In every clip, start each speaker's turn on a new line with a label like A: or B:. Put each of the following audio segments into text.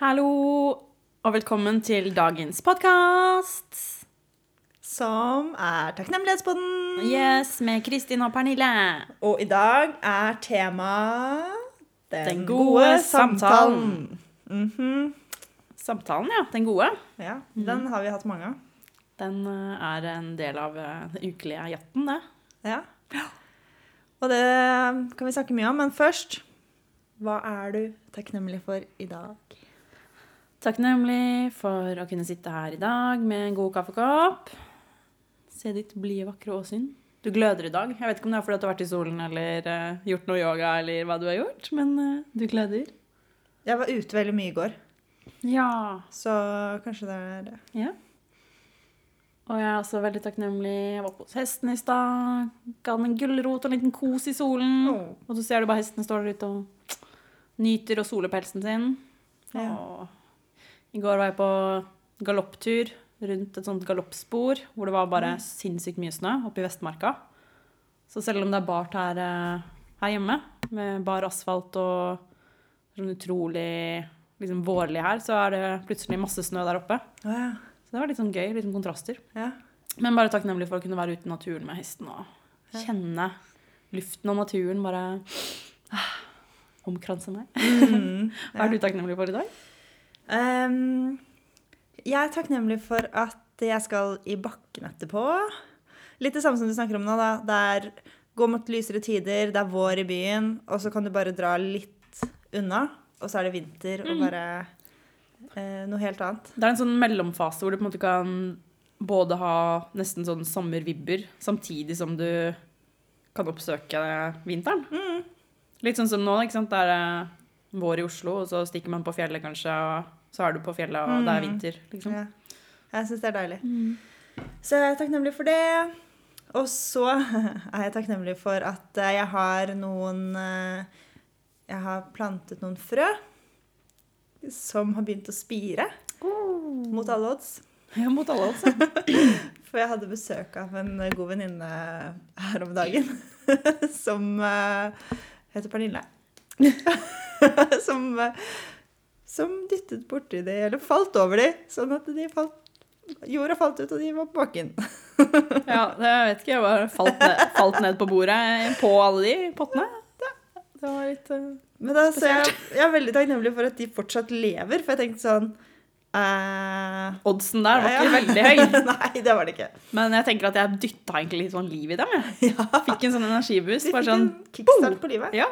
A: hallo, og velkommen til dagens podkast.
B: Som er Takknemlighetsboden.
A: Yes, med Kristin og Pernille.
B: Og i dag er tema Den, Mhm.
A: Den gode samtalen. Samtalen, ja. Den gode.
B: Ja,
A: Mhm.
B: den har vi hatt mange av.
A: Den eh, er en del av eh, den ukelige jatten, det.
B: Ja. Og det kan vi snakke mye om, men først Hva er du takknemlig for i dag?
A: Takknemlig for å kunne sitte her i dag med en god kaffekopp. Se ditt blide, vakre åsyn. Du gløder i dag. Jeg vet ikke om det er fordi at du har vært i solen eller eh, gjort noe yoga eller hva du har gjort, men eh, du gløder.
B: Jeg var ute veldig mye i går,
A: Ja.
B: så kanskje det er det.
A: Ja. Og jeg er også veldig takknemlig. Jeg var oppe hos hesten i stad. Ga den en gulrot og en liten kos i solen.
B: Åh.
A: Og så ser du bare hesten står der ute og nyter og soler pelsen sin.
B: Ja.
A: Og i går var jeg på galopptur rundt et sånt galoppspor hvor det var bare sinnssykt mye snø oppe i Vestmarka. Så selv om det er bart her, eh, her hjemme, med bar asfalt og sånn utrolig liksom vårlig her, så er det plutselig masse snø der oppe.
B: Å ja.
A: Så det var litt sånn gøy, litt sånn kontraster.
B: ja.
A: Men bare takknemlig for å kunne være ute i naturen med hesten og kjenne luften og naturen bare ah, omkranse meg.
B: Mm.
A: Hva er du takknemlig for i dag?
B: Ehm, jeg er takknemlig for at jeg skal i bakken etterpå. Litt det samme som du snakker om nå. da. Det er gå mot lysere tider, det er vår i byen, og så kan du bare dra litt unna, og så er det vinter og bare eh, noe helt annet.
A: Det er en sånn mellomfase hvor du på en måte kan både ha nesten sånn sommervibber samtidig som du kan oppsøke vinteren. Litt sånn som nå, ikke sant? Det er eh, vår i Oslo, og så stikker man på fjellet kanskje, og så er du på fjellet, og det er vinter, liksom.
B: Ja. Jeg syns det er deilig. Så jeg er takknemlig for det. Og så er jeg takknemlig for at eh, jeg har noen eh, Jeg har plantet noen frø som har begynt å spire. Mot alle odds.
A: Ja, mot alle altså.
B: For jeg hadde besøk av en god venninne her om dagen som eh, heter Pernille. som, eh, som dyttet borti de, eller falt over de, sånn at de falt Jorda falt ut, og de var på bakken.
A: Ja, det jeg vet ikke. Jeg bare falt ned, falt ned på bordet eh, på alle de pottene. Det var litt eh,
B: Men da, så jeg, jeg er veldig takknemlig for at de fortsatt lever, for jeg tenkte sånn eh,
A: Oddsen der var
B: ja,
A: ikke
B: ja.
A: veldig høy.
B: Nei, det var det ikke.
A: Men jeg tenker at jeg dytta egentlig litt sånn liv i dem. Jeg. Fikk en sånn energiboost.
B: De
A: Bare
B: fikk
A: sånn
B: en kickstart på livet.
A: Ja.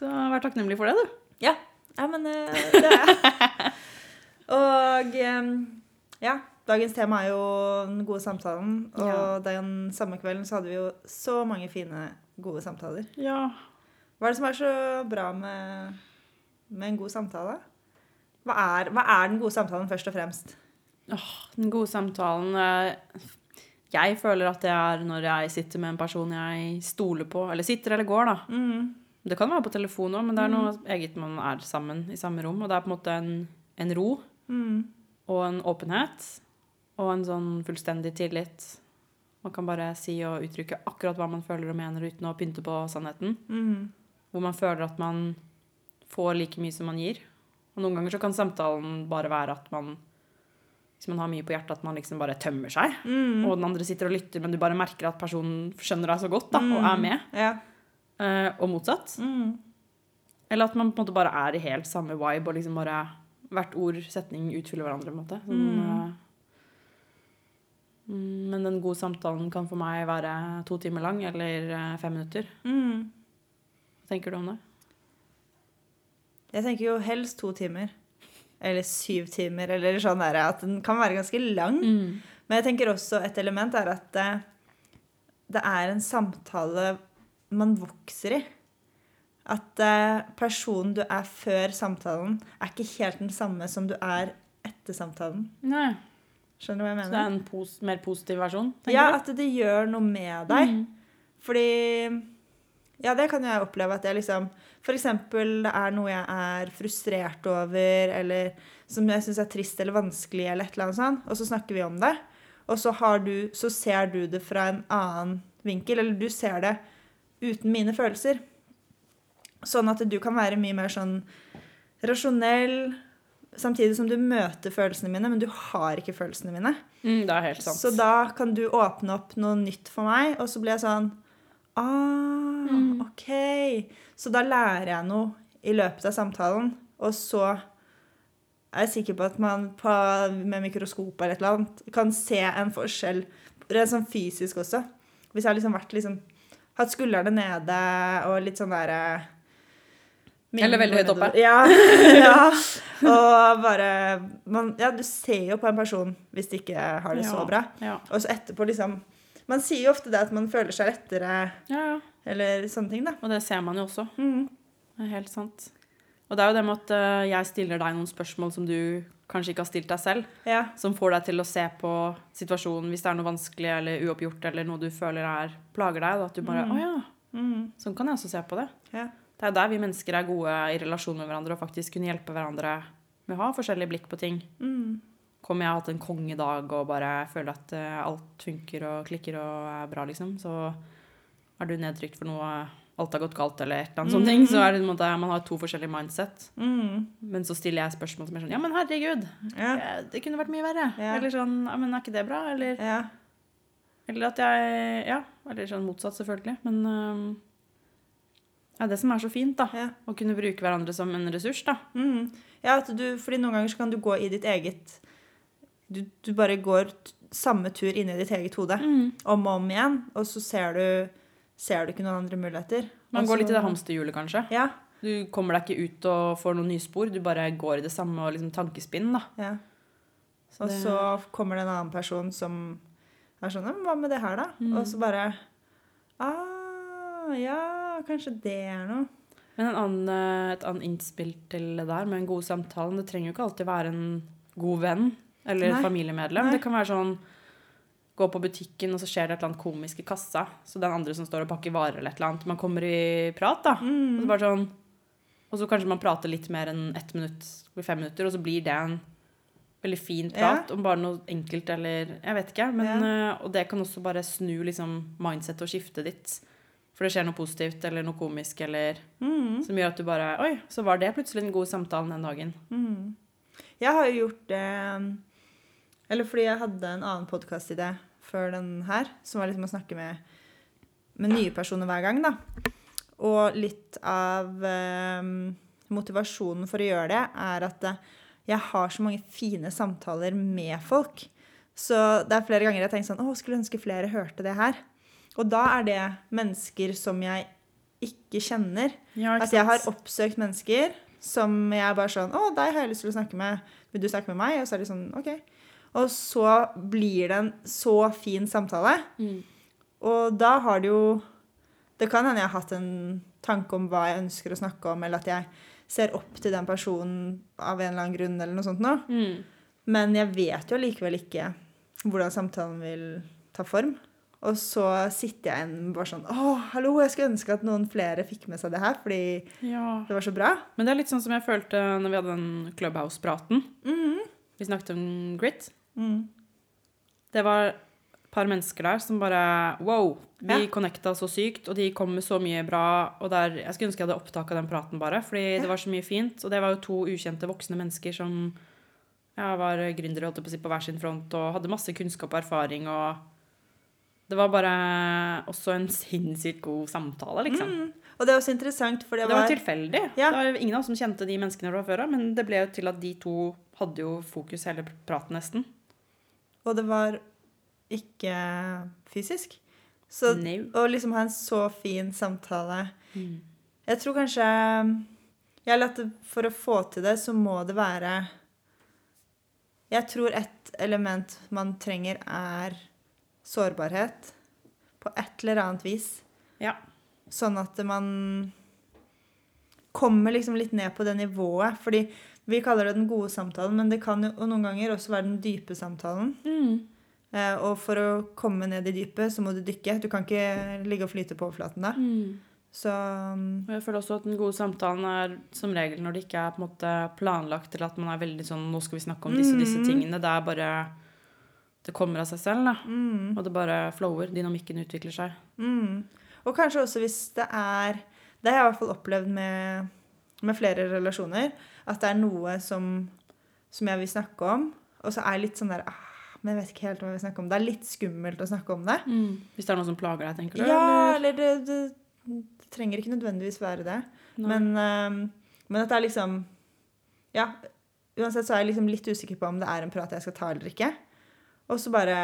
A: Så vær takknemlig for det, du.
B: Ja. ja, men eh, det er jeg. Og em, ja, dagens tema er jo den gode samtalen. Og
A: Ja.
B: den samme kvelden så hadde vi jo så mange fine, gode samtaler.
A: Ja.
B: Hva er det som er så bra med, med en god samtale? Hva er, hva er den gode samtalen, først og fremst?
A: Den gode samtalen eh, Jeg føler at det er når jeg sitter med en person jeg stoler på. Eller sitter eller går, da.
B: Mm,
A: Det kan være på telefon òg, men det er noe eget man er sammen i samme rom. Og det er på en måte en, en ro
B: mm,
A: og en åpenhet og en sånn fullstendig tillit. Man kan bare si og uttrykke akkurat hva man føler og mener uten å pynte på sannheten.
B: mm,
A: Hvor man føler at man får like mye som man gir. Og noen ganger så kan samtalen bare være at man hvis man har mye på hjertet, at man liksom bare tømmer seg.
B: mm.
A: Og den andre sitter og lytter, men du bare merker at personen skjønner deg så godt da,
B: Mm.
A: og er med.
B: Ja. Mm,
A: Eh, og motsatt. Eller at man på en måte bare er i helt samme vibe, og liksom bare hvert ord, setning utfyller hverandre. på en måte. Sånn,
B: Mm.
A: eh, mm, men den gode samtalen kan for meg være to timer lang, eller eh, fem minutter.
B: mm.
A: Hva tenker du om det?
B: Jeg tenker jo helst to timer. Eller syv timer, eller sånn der, at den kan være ganske lang. Men jeg tenker også et element er at det, det er en samtale man vokser i. At eh, personen du er før samtalen, er ikke helt den samme som du er etter samtalen.
A: Nei.
B: Skjønner du hva jeg
A: Så
B: mener?
A: det er en pos mer positiv versjon? tenker
B: Ja,
A: du? Mm.
B: at det gjør noe med deg. Fordi Ja, det kan jeg oppleve at jeg liksom For eksempel det er noe jeg er frustrert over, eller som jeg syns er trist eller vanskelig, eller et eller annet sånt, og så snakker vi om det. Og så, har du, så ser du det fra en annen vinkel, eller du ser det uten mine følelser. Sånn at du kan være mye mer sånn rasjonell Samtidig som du møter følelsene mine, men du har ikke følelsene mine.
A: Mm, det er helt sant.
B: Så da kan du åpne opp noe nytt for meg, og så blir jeg sånn Ah,
A: Mm.
B: OK. Så da lærer jeg noe i løpet av samtalen, og så er jeg sikker på at man på, med mikroskop eller et eller annet kan se en forskjell, rent sånn fysisk også. Hvis jeg har liksom vært liksom Hatt skuldrene nede og litt sånn derre
A: Eller veldig høyt oppe.
B: Ja. ja. Og bare man, Ja, du ser jo på en person hvis de ikke har det så
A: Ja.
B: bra.
A: Ja.
B: Og så etterpå liksom Man sier jo ofte det at man føler seg lettere,
A: ja, ja.
B: eller sånne ting, da.
A: Og det ser man jo også.
B: Mm.
A: Det er helt sant. Og det er jo det med at eh, jeg stiller deg noen spørsmål som du kanskje ikke har stilt deg selv,
B: Ja.
A: som får deg til å se på situasjonen hvis det er noe vanskelig eller uoppgjort eller noe du føler er plager deg. Da, at du bare Å ja,
B: Mm.
A: sånn kan jeg også se på det.
B: ja.
A: Det er jo der vi mennesker er gode i relasjon med hverandre og faktisk kunne hjelpe hverandre med å ha forskjellig blikk på ting.
B: Mm.
A: Kommer jeg har hatt en kongedag og bare føler at eh, alt funker og klikker og er bra, liksom, så er du nedtrykt for noe alt har gått galt eller et eller annet sånne ting, så er det en måte man har to forskjellige mindset.
B: Mm.
A: Men så stiller jeg spørsmål som er sånn Ja, men herregud,
B: Ja.
A: eh, det kunne vært mye verre.
B: Ja.
A: Eller sånn Ja, men er ikke det bra? Eller,
B: ja.
A: eller at jeg Ja, eller sånn motsatt, selvfølgelig. Men øhm, ja, det som er så fint, da.
B: Ja.
A: Å kunne bruke hverandre som en ressurs, da.
B: Mm. ja at du, fordi noen ganger så kan du gå i ditt eget Du, du bare går t samme tur inni ditt eget hode
A: Mm.
B: om og om igjen, og så ser du, ser du ikke noen andre muligheter.
A: Man
B: Og så-
A: går litt i det hamsterhjulet, kanskje.
B: Ja.
A: Du kommer deg ikke ut og får noen nye spor. Du bare går i det samme og liksom, tankespinn, da.
B: ja.
A: Så
B: Og
A: det-
B: så kommer det en annen person som er sånn «Ja, men Hva med det her, da?
A: Mm.
B: Og så bare Ah, ja, kanskje det er noe.
A: Men en annen, eh, et annet innspill til det der med en god samtale Det trenger jo ikke alltid være en god venn eller
B: Nei.
A: familiemedlem.
B: Nei.
A: Det kan være sånn Gå på butikken, og så skjer det et eller annet komisk i kassa. Så den andre som står og pakker varer eller et eller annet, man kommer i prat, da.
B: Mm.
A: Og så bare sånn Og så kanskje man prater litt mer enn ett minutt, fem minutter, og så blir det en veldig fin prat om bare noe enkelt eller Jeg vet ikke. Men, eh, Og det kan også bare snu liksom mindsettet og skiftet ditt. For det skjer noe positivt eller noe komisk eller
B: Mm.
A: som gjør at du bare Oi, så var det plutselig den gode samtalen den dagen.
B: Mm. Jeg har jo gjort det Eller fordi jeg hadde en annen podkastidé før den her, som var liksom å snakke med, med nye personer hver gang, da. Og litt av eh, motivasjonen for å gjøre det er at eh, jeg har så mange fine samtaler med folk. Så det er flere ganger jeg har tenkt sånn Å, skulle ønske flere hørte det her. Og da er det mennesker som jeg ikke kjenner.
A: Ja,
B: At Altså, jeg har oppsøkt mennesker som jeg bare sånn Å, deg har jeg lyst til å snakke med. Vil du snakke med meg? Og så er de sånn OK. Og så blir det en så fin samtale.
A: Mm.
B: Og da har det jo Det kan hende jeg har hatt en tanke om hva jeg ønsker å snakke om, eller at jeg ser opp til den personen av en eller annen grunn, eller noe sånt noe.
A: Mm.
B: Men jeg vet jo allikevel ikke hvordan samtalen vil ta form. Og så sitter jeg igjen bare sånn Å, hallo, jeg skulle ønske at noen flere fikk med seg det her, fordi
A: ja.
B: det var så bra.
A: Men det er litt sånn som jeg følte når vi hadde den Clubhouse-praten. Vi snakket om grit.
B: Mhm. Mm.
A: Det var et par mennesker der som bare Wow! Vi
B: Ja.
A: connecta så sykt, og de kom med så mye bra. Og der, jeg skulle ønske jeg hadde opptak av den praten, bare. Fordi det var så mye fint. Og det var jo to ukjente voksne mennesker som ja, var gründere holdt jeg på, å si, på hver sin front og hadde masse kunnskap og erfaring. Og det var bare også en sinnssykt god samtale, liksom.
B: Og det er også interessant, for det
A: Det
B: var,
A: var tilfeldig.
B: Ja.
A: Det var ingen av oss som kjente de menneskene fra før av, men det ble jo til at de to hadde jo fokus hele praten, nesten.
B: og det var ikke fysisk. Så
A: No.
B: å liksom ha en så fin samtale Jeg tror kanskje jeg har latt det, For å få til det, så må det være Jeg tror et element man trenger, er sårbarhet. På et eller annet vis.
A: Ja.
B: Sånn at man kommer liksom litt ned på det nivået. Fordi vi kaller det den gode samtalen, men det kan jo og noen ganger også være den dype samtalen. Eh, og for å komme ned i dypet, så må du dykke. Du kan ikke ligge og flyte på overflaten da. Så mm,
A: Og jeg føler også at den gode samtalen er som regel når det ikke er på en måte planlagt eller at man er veldig sånn Nå skal vi snakke om disse og disse tingene. Det er bare Det kommer av seg selv, da. Og det bare flower. Dynamikken utvikler seg.
B: Mm. Og kanskje også hvis det er Det har jeg i hvert fall opplevd med, med flere relasjoner. At det er noe som som jeg vil snakke om, og så er jeg litt sånn der ah, Men jeg vet ikke helt hva jeg vil snakke om. Det er litt skummelt å snakke om det.
A: Mm. Hvis det er noe som plager deg, tenker du?
B: Ja,
A: eller?
B: eller det, det, det trenger ikke nødvendigvis være det.
A: Nei.
B: Men, ehm, men at det er liksom Ja, uansett så er jeg liksom litt usikker på om det er en prat jeg skal ta eller ikke. Og så bare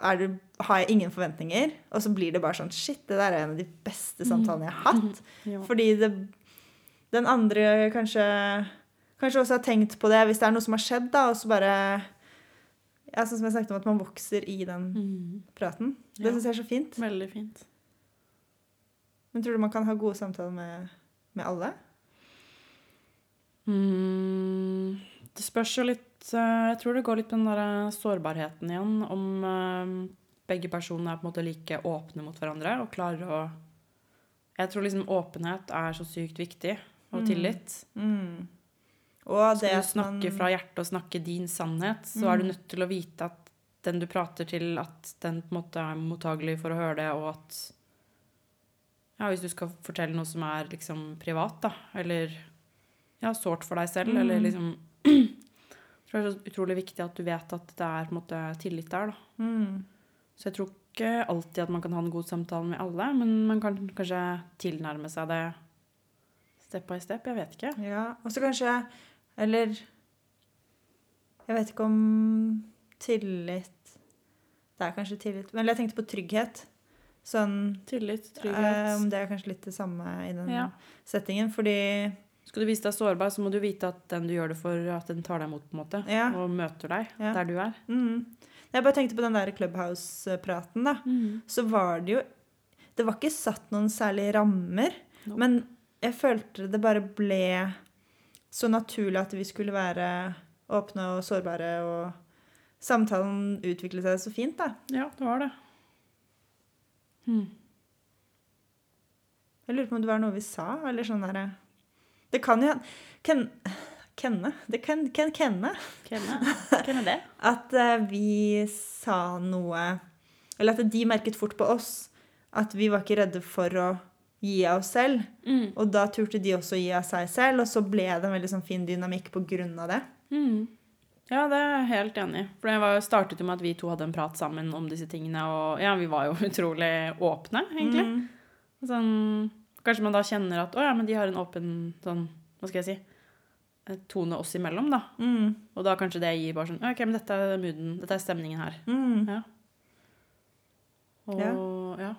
B: er det, har jeg ingen forventninger, og så blir det bare sånn Shit, det der er en av de beste samtalene jeg har hatt.
A: Mm. Ja.
B: Fordi det, den andre kanskje, kanskje også har tenkt på det hvis det er noe som har skjedd, da, og så bare ja, Sånn som jeg snakket om, at man vokser i den
A: Mm.
B: praten. Det
A: Ja.
B: syns jeg er så fint.
A: Veldig fint.
B: Men tror du man kan ha gode samtaler med, med alle?
A: Mm, det spørs jo litt eh, Jeg tror det går litt på den der eh, sårbarheten igjen. Om eh, begge personene er på en måte like åpne mot hverandre og klarer å Jeg tror liksom åpenhet er så sykt viktig. Og
B: Mm.
A: tillit.
B: Og det
A: Skal
B: at
A: du
B: man Mm.
A: snakke fra hjertet og snakke din sannhet, så er du nødt til å vite at den du prater til, at den på en måte er mottagelig for å høre det, og at Ja, hvis du skal fortelle noe som er liksom privat, da, eller ja, sårt for deg selv,
B: Mm.
A: eller liksom Jeg tror det er så utrolig viktig at du vet at det er på en måte tillit der, da.
B: mm.
A: Så jeg tror ikke alltid at man kan ha en god samtale med alle, men man kan kanskje tilnærme seg det step by step. Jeg vet ikke.
B: Ja, og så kanskje Eller Jeg vet ikke om tillit Det er kanskje tillit Men jeg tenkte på trygghet. Sånn
A: Tillit,
B: eh,
A: trygghet.
B: Om det er kanskje litt det samme i den
A: Ja.
B: settingen, fordi
A: Skal du vise deg sårbar, så må du vite at den du gjør det for, at den tar deg imot, på en måte.
B: Ja.
A: Og møter deg
B: Ja.
A: der du er.
B: mm. Jeg bare tenkte på den der Clubhouse-praten, da.
A: Mhm.
B: så var det jo Det var ikke satt noen særlige rammer,
A: Nope.
B: men jeg følte det bare ble så naturlig at vi skulle være åpne og sårbare, og samtalen utviklet seg så fint, da.
A: Ja, det var det. Mm.
B: Jeg lurer på om det var noe vi sa, eller sånn derre Det kan jo ken, Kenne. Det kan, kan kenne
A: Hvem er det?
B: at eh, vi sa noe Eller at de merket fort på oss at vi var ikke redde for å gi av oss selv.
A: Mm.
B: Og da turte de også å gi av seg selv, og så ble det en veldig sånn fin dynamikk på grunn av det.
A: Mm. Ja, det er jeg helt enig i. For det var, startet jo med at vi to hadde en prat sammen om disse tingene, og ja, vi var jo utrolig åpne, egentlig.
B: Mm.
A: Sånn, kanskje man da kjenner at å ja, men de har en åpen sånn, hva skal jeg si, eh, tone oss imellom, da.
B: Mm.
A: Og da kanskje det gir bare sånn OK, men dette er mooden, dette er stemningen her.
B: Mm.
A: Ja. Og ja.
B: Ja.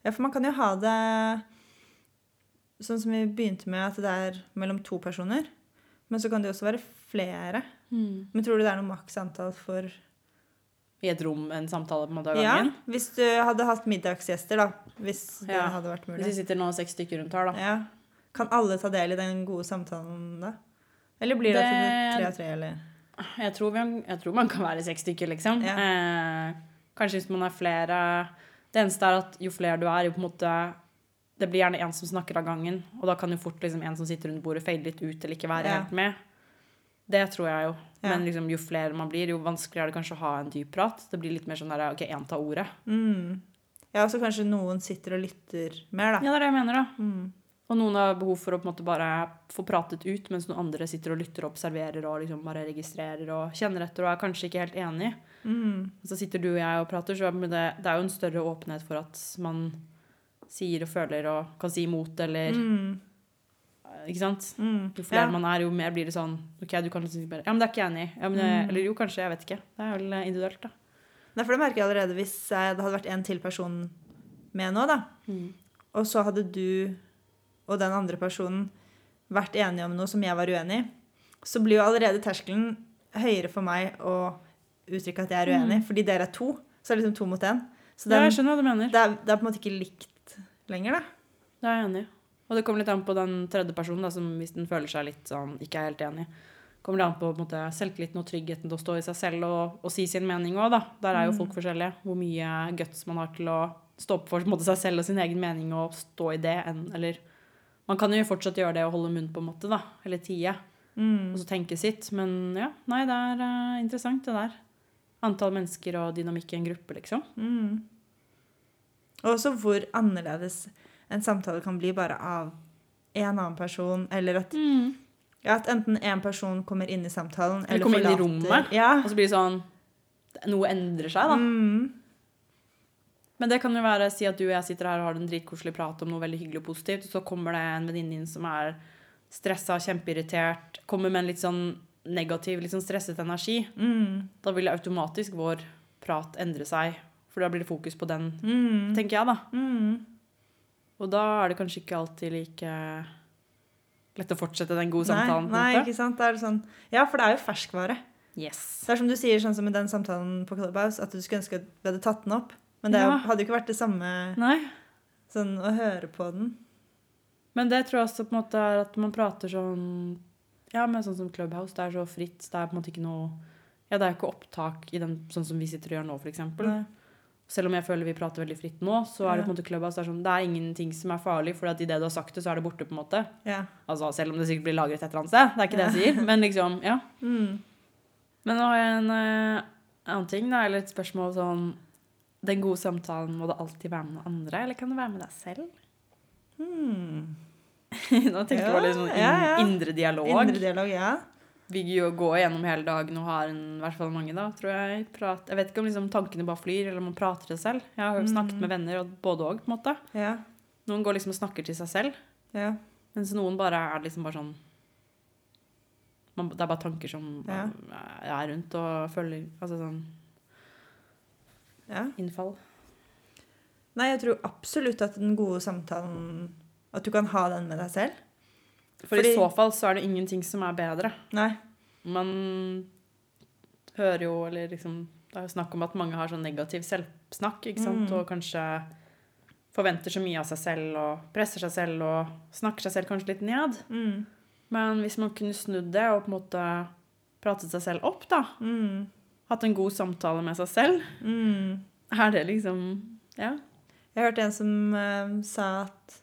B: Ja, for man kan jo ha det sånn som vi begynte med, at det er mellom to personer. Men så kan det jo også være flere.
A: Mm.
B: Men tror du det er noe maks antall for
A: I et rom, en samtale på en måte av
B: Ja,
A: gangen.
B: hvis du hadde hatt middagsgjester, da. Hvis det
A: Ja.
B: hadde vært
A: Hvis vi
B: mulig.
A: sitter nå seks stykker rundt her, da.
B: Ja. Kan alle ta del i den gode samtalen da? Eller blir det,
A: Det-
B: til tre av tre, eller?
A: Jeg tror, vi, jeg tror man kan være seks stykker, liksom.
B: Ja.
A: Eh, kanskje hvis man er flere Det eneste er at jo flere du er, jo på en måte Det blir gjerne en som snakker av gangen, og da kan jo fort liksom, en som sitter rundt bordet, fade litt ut eller ikke være
B: Ja.
A: helt med. Det tror jeg jo.
B: Ja.
A: Men liksom, jo flere man blir, jo vanskeligere er det kanskje å ha en dyp prat. Det blir litt mer sånn der OK, én tar ordet.
B: Mm. Ja, og så kanskje noen sitter og lytter mer, da.
A: Ja, det er det jeg mener, da.
B: Mm.
A: Og noen har behov for å på en måte bare få pratet ut, mens noen andre sitter og lytter og observerer og liksom bare registrerer og kjenner etter og er kanskje ikke helt enig.
B: Mm.
A: Og så sitter du og jeg og prater, så men det, det er jo en større åpenhet for at man sier og føler og kan si imot eller
B: Mm.
A: Ikke sant?
B: Mm.
A: Jo flere
B: ja.
A: man er, jo mer blir det sånn OK, du kan liksom ikke bare Ja, men det er ikke jeg enig i. Ja, men det,
B: Mm.
A: Eller jo, kanskje. Jeg vet ikke. Det er vel eh, individuelt, da.
B: Nei, for det merker jeg allerede hvis eh, det hadde vært en til person med nå, da.
A: Mm.
B: Og så hadde du og den andre personen vært enige om noe som jeg var uenig i. Så blir jo allerede terskelen høyere for meg å uttrykke at jeg er uenig. Fordi dere er to. Så er det liksom to mot én. Så
A: Mm. Ja,
B: den,
A: jeg skjønner hva du mener.
B: det, er, det er på en måte ikke likt lenger, da.
A: Det er jeg enig i. Og det kommer litt an på den tredje personen, da, som hvis den føler seg litt sånn ikke er helt enig. Kommer det an på, på en måte, selvtilliten og tryggheten til å stå i seg selv og, og si sin mening òg, da. Der er jo folk forskjellige. Hvor mye guts man har til å stå opp for på en måte, seg selv og sin egen mening og stå i det enn Eller man kan jo fortsatt gjøre det og holde munn, på en måte, da. Eller tie.
B: Mm.
A: Og så tenke sitt. Men ja, nei, det er eh, interessant, det der. Antall mennesker og dynamikk i en gruppe, liksom.
B: Mm. Og også hvor annerledes en samtale kan bli bare av en annen person, eller at Ja, at enten en person kommer inn i samtalen,
A: Eller
B: eller
A: kommer inn i
B: forlater.
A: rommet.
B: Ja.
A: Og så blir det sånn Noe endrer seg, da.
B: Mm.
A: Men det kan jo være si at du og jeg sitter her og har en dritkoselig prat om noe veldig hyggelig og positivt, og så kommer det en venninne inn som er stressa, kjempeirritert, kommer med en litt sånn negativ, litt sånn stresset energi.
B: Mm.
A: Da vil automatisk vår prat endre seg, for da blir det fokus på den,
B: Mm.
A: tenker jeg, da.
B: Mm.
A: Og da er det kanskje ikke alltid like lett å fortsette den gode
B: Nei,
A: samtalen. på en
B: nei,
A: måte.
B: ikke sant. Det er det sånn, ja, for det er jo ferskvare.
A: Yes.
B: Det er som du sier, sånn som i den samtalen på Clubhouse, at du skulle ønske at vi hadde tatt den opp. Men det er jo-
A: Ja.
B: hadde jo ikke vært det samme
A: Nei.
B: sånn å høre på den.
A: Men det tror jeg også på en måte er at man prater sånn Ja, men sånn som Clubhouse, det er så fritt. Det er på en måte ikke noe Ja, det er jo ikke opptak i den sånn som vi sitter og gjør nå, f.eks.
B: Nei.
A: Selv om jeg føler vi prater veldig fritt nå, så er det på en måte Clubhouse det er sånn Det er ingenting som er farlig, for at i det du har sagt det, så er det borte, på en måte.
B: Ja.
A: Altså, selv om det sikkert blir lagret et eller annet sted. Det er ikke det jeg sier, men liksom Ja.
B: Mm.
A: Men nå har jeg en eh, annen ting, da, eller et spørsmål sånn Den gode samtalen, må det alltid være med noen andre, eller kan det være med deg selv?
B: Mm.
A: Nå tenker jeg på litt sånn in
B: Ja, ja.
A: indre dialog.
B: Indre dialog, ja.
A: Vi jo- går gjennom hele dagen og har en, i hvert fall mange, da, tror jeg. Prat. Jeg vet ikke om liksom, tankene bare flyr, eller om man prater det selv. Jeg har jo snakket
B: Mm.
A: med venner, og både òg, på en måte.
B: Ja.
A: Noen går liksom og snakker til seg selv,
B: Ja.
A: mens noen bare er liksom bare sånn man, Det er bare tanker som
B: Ja.
A: eh, er rundt og følger Altså sånn
B: ja.
A: innfall.
B: Nei, jeg tror absolutt at den gode samtalen At du kan ha den med deg selv.
A: For
B: Fordi-
A: i så fall så er det ingenting som er bedre.
B: Nei.
A: Man hører jo, eller liksom Det er jo snakk om at mange har sånn negativ selvsnakk, ikke sant,
B: Mm.
A: og kanskje forventer så mye av seg selv og presser seg selv og snakker seg selv kanskje litt ned.
B: Mm.
A: Men hvis man kunne snudd det og på en måte pratet seg selv opp, da,
B: Mm.
A: hatt en god samtale med seg selv,
B: Mm.
A: er det liksom Ja.
B: Jeg hørte en som eh, sa at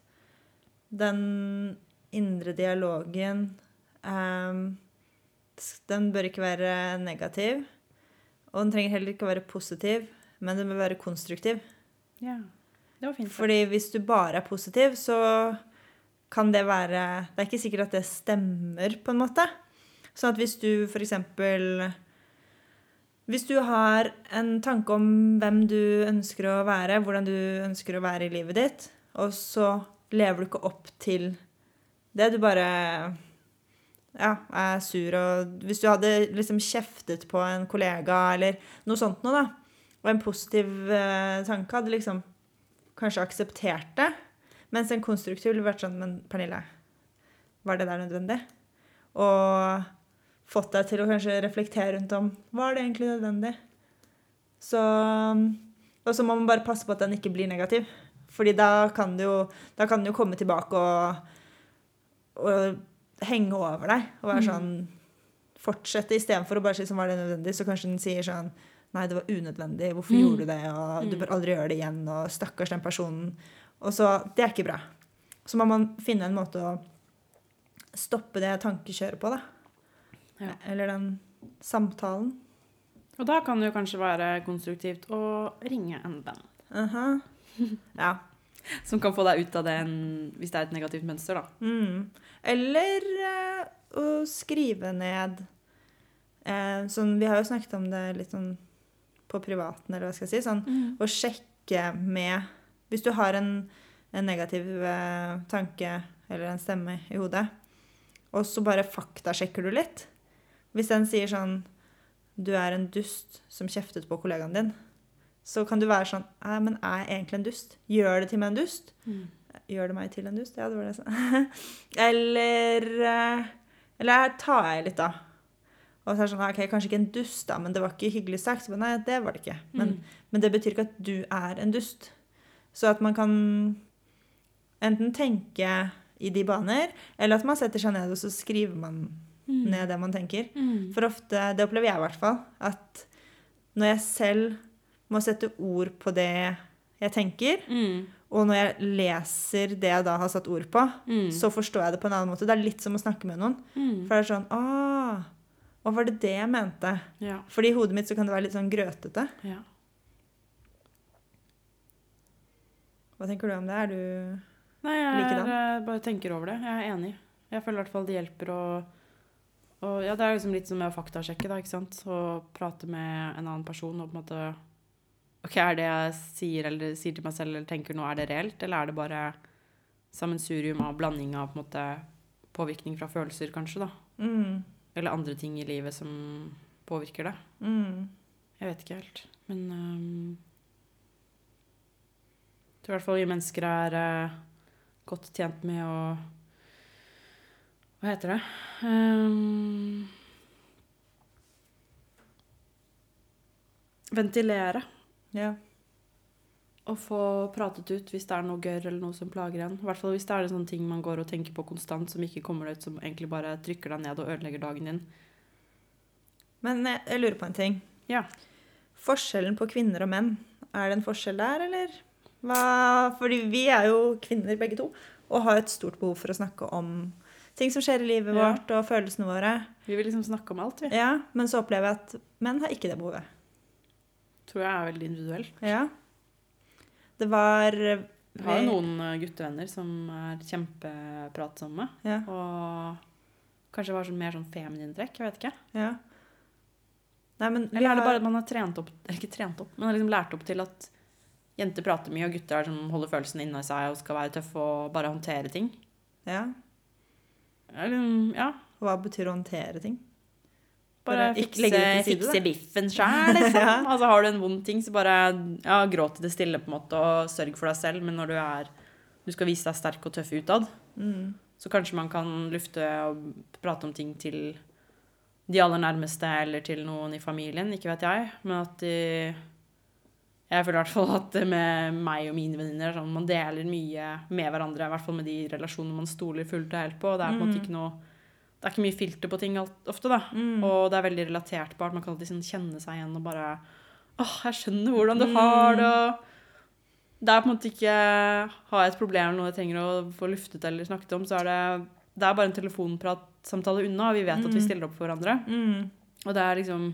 B: den indre dialogen eh, s- Den bør ikke være negativ. Og den trenger heller ikke være positiv, men den bør være konstruktiv.
A: ja. Det var fint. sagt.
B: Fordi hvis du bare er positiv, så kan det være Det er ikke sikkert at det stemmer, på en måte. Sånn at hvis du f.eks. Hvis du har en tanke om hvem du ønsker å være, hvordan du ønsker å være i livet ditt, og så lever du ikke opp til det, du bare ja, er sur og Hvis du hadde liksom kjeftet på en kollega eller noe sånt noe, da, og en positiv eh, tanke hadde liksom kanskje akseptert det, mens en konstruktiv ville vært sånn Men Pernille, var det der nødvendig? Og fått deg til å kanskje reflektere rundt om Var det egentlig nødvendig? Så Og så må man bare passe på at den ikke blir negativ. Fordi da kan det jo, da kan det jo komme tilbake og, og henge over deg og være sånn Fortsette istedenfor å bare si sånn Var det nødvendig? Så kanskje den sier sånn Nei, det var unødvendig. Hvorfor
A: Mm.
B: gjorde du det? Og du bør aldri gjøre det igjen. Og stakkars den personen. Og så Det er ikke bra. Så må man finne en måte å stoppe det tankekjøret på, da.
A: Ja.
B: Eller den samtalen.
A: Og da kan det jo kanskje være konstruktivt å ringe en venn.
B: Aha. Ja.
A: Som kan få deg ut av det en- hvis det er et negativt mønster, da.
B: Mm. Eller eh, å skrive ned eh, sånn, Vi har jo snakket om det litt sånn på privaten, eller hva skal jeg si. Sånn,
A: Mm.
B: å sjekke med Hvis du har en, en negativ eh, tanke eller en stemme i hodet, og så bare faktasjekker du litt Hvis den sier sånn Du er en dust som kjeftet på kollegaen din. Så kan du være sånn Nei, men er jeg egentlig en dust? Gjør det til meg en dust?
A: Mm.
B: Gjør det meg til en dust? Ja, det var det jeg sa. eller eh, Eller her tar jeg litt, da. Og så er det sånn OK, kanskje ikke en dust, da, men det var ikke hyggelig sagt. Så, bare, nei, det var det ikke. Men
A: Mm.
B: men det betyr ikke at du er en dust. Så at man kan enten tenke i de baner, eller at man setter seg ned og så skriver man
A: Mm.
B: ned det man tenker.
A: Mm.
B: For ofte, det opplever jeg i hvert fall, at når jeg selv må sette ord på det jeg tenker,
A: Mm.
B: og når jeg leser det jeg da har satt ord på,
A: Mm.
B: så forstår jeg det på en annen måte. Det er litt som å snakke med noen.
A: Mm.
B: For det er sånn Å, hva var det det jeg mente?
A: Ja.
B: Fordi i hodet mitt så kan det være litt sånn grøtete.
A: ja.
B: Hva tenker du om det? Er du
A: Nei, jeg
B: Likedan.
A: er, eh, bare tenker over det. Jeg er enig. Jeg føler i hvert fall det hjelper å Og ja, det er liksom litt som med å faktasjekke, da, ikke sant. Og prate med en annen person og på en måte OK, er det jeg sier eller sier til meg selv eller tenker nå, er det reelt, eller er det bare sammensurium av blanding av på en måte påvirkning fra følelser, kanskje, da?
B: Mm.
A: Eller andre ting i livet som påvirker det.
B: Mm.
A: Jeg vet ikke helt. Men øhm, jeg tror i hvert fall vi mennesker er øh, godt tjent med å Hva heter det? Eh, Øhm, ventilere
B: Ja.
A: og få pratet ut hvis det er noe gørr eller noe som plager en. I hvert fall hvis det er en sånn ting man går og tenker på konstant som ikke kommer ut, som egentlig bare trykker deg ned og ødelegger dagen din.
B: Men jeg, jeg lurer på en ting.
A: Ja.
B: Forskjellen på kvinner og menn, er det en forskjell der, eller? Hva? Fordi vi er jo kvinner begge to, og har et stort behov for å snakke om ting som skjer i livet
A: Ja.
B: vårt, og følelsene våre.
A: Vi vil liksom snakke om alt, vi.
B: Ja, men så opplever jeg at menn har ikke det behovet.
A: Tror jeg er veldig individuelt.
B: Ja. Det var eh,
A: Jeg har jo noen eh, guttevenner som er kjempepratsomme.
B: Ja,
A: Og kanskje var sånn mer sånn feminine trekk. jeg vet ikke.
B: ja. Nei, men vi
A: Eller er det
B: har-
A: bare at man har trent opp, eller ikke trent opp, men har liksom lært opp til at jenter prater mye, og gutter er sånn, holder følelsene inni seg og skal være tøffe og bare håndtere ting.
B: Ja.
A: Eller, mm, ja,
B: Hva betyr å håndtere ting?
A: Bare
B: Bare ikke
A: fikse,
B: legge det til side,
A: fikse biffen sjæl, liksom.
B: Ja.
A: Altså, har du en vond ting, så bare ja, gråt i det stille på en måte, og sørg for deg selv. Men når du, er, du skal vise deg sterk og tøff utad,
B: Mm.
A: Så kanskje man kan lufte og prate om ting til de aller nærmeste eller til noen i familien, ikke vet jeg. Men at de Jeg føler i hvert fall at med meg og mine venninner sånn, man deler mye med hverandre. I hvert fall med de relasjonene man stoler fullt og helt på. Det er på en måte ikke noe Det er ikke mye filter på ting alt, ofte, da.
B: Mm.
A: Og det er veldig relatertbart. Man kan alltid sånn kjenne seg igjen og bare Åh, jeg skjønner hvordan du har
B: Mm.
A: det. og det er på en måte ikke Har jeg et problem eller noe jeg trenger å få luftet eller snakket om, så er det Det er bare en telefonpratsamtale unna, og vi vet at vi stiller opp for hverandre.
B: Mm.
A: Og det er liksom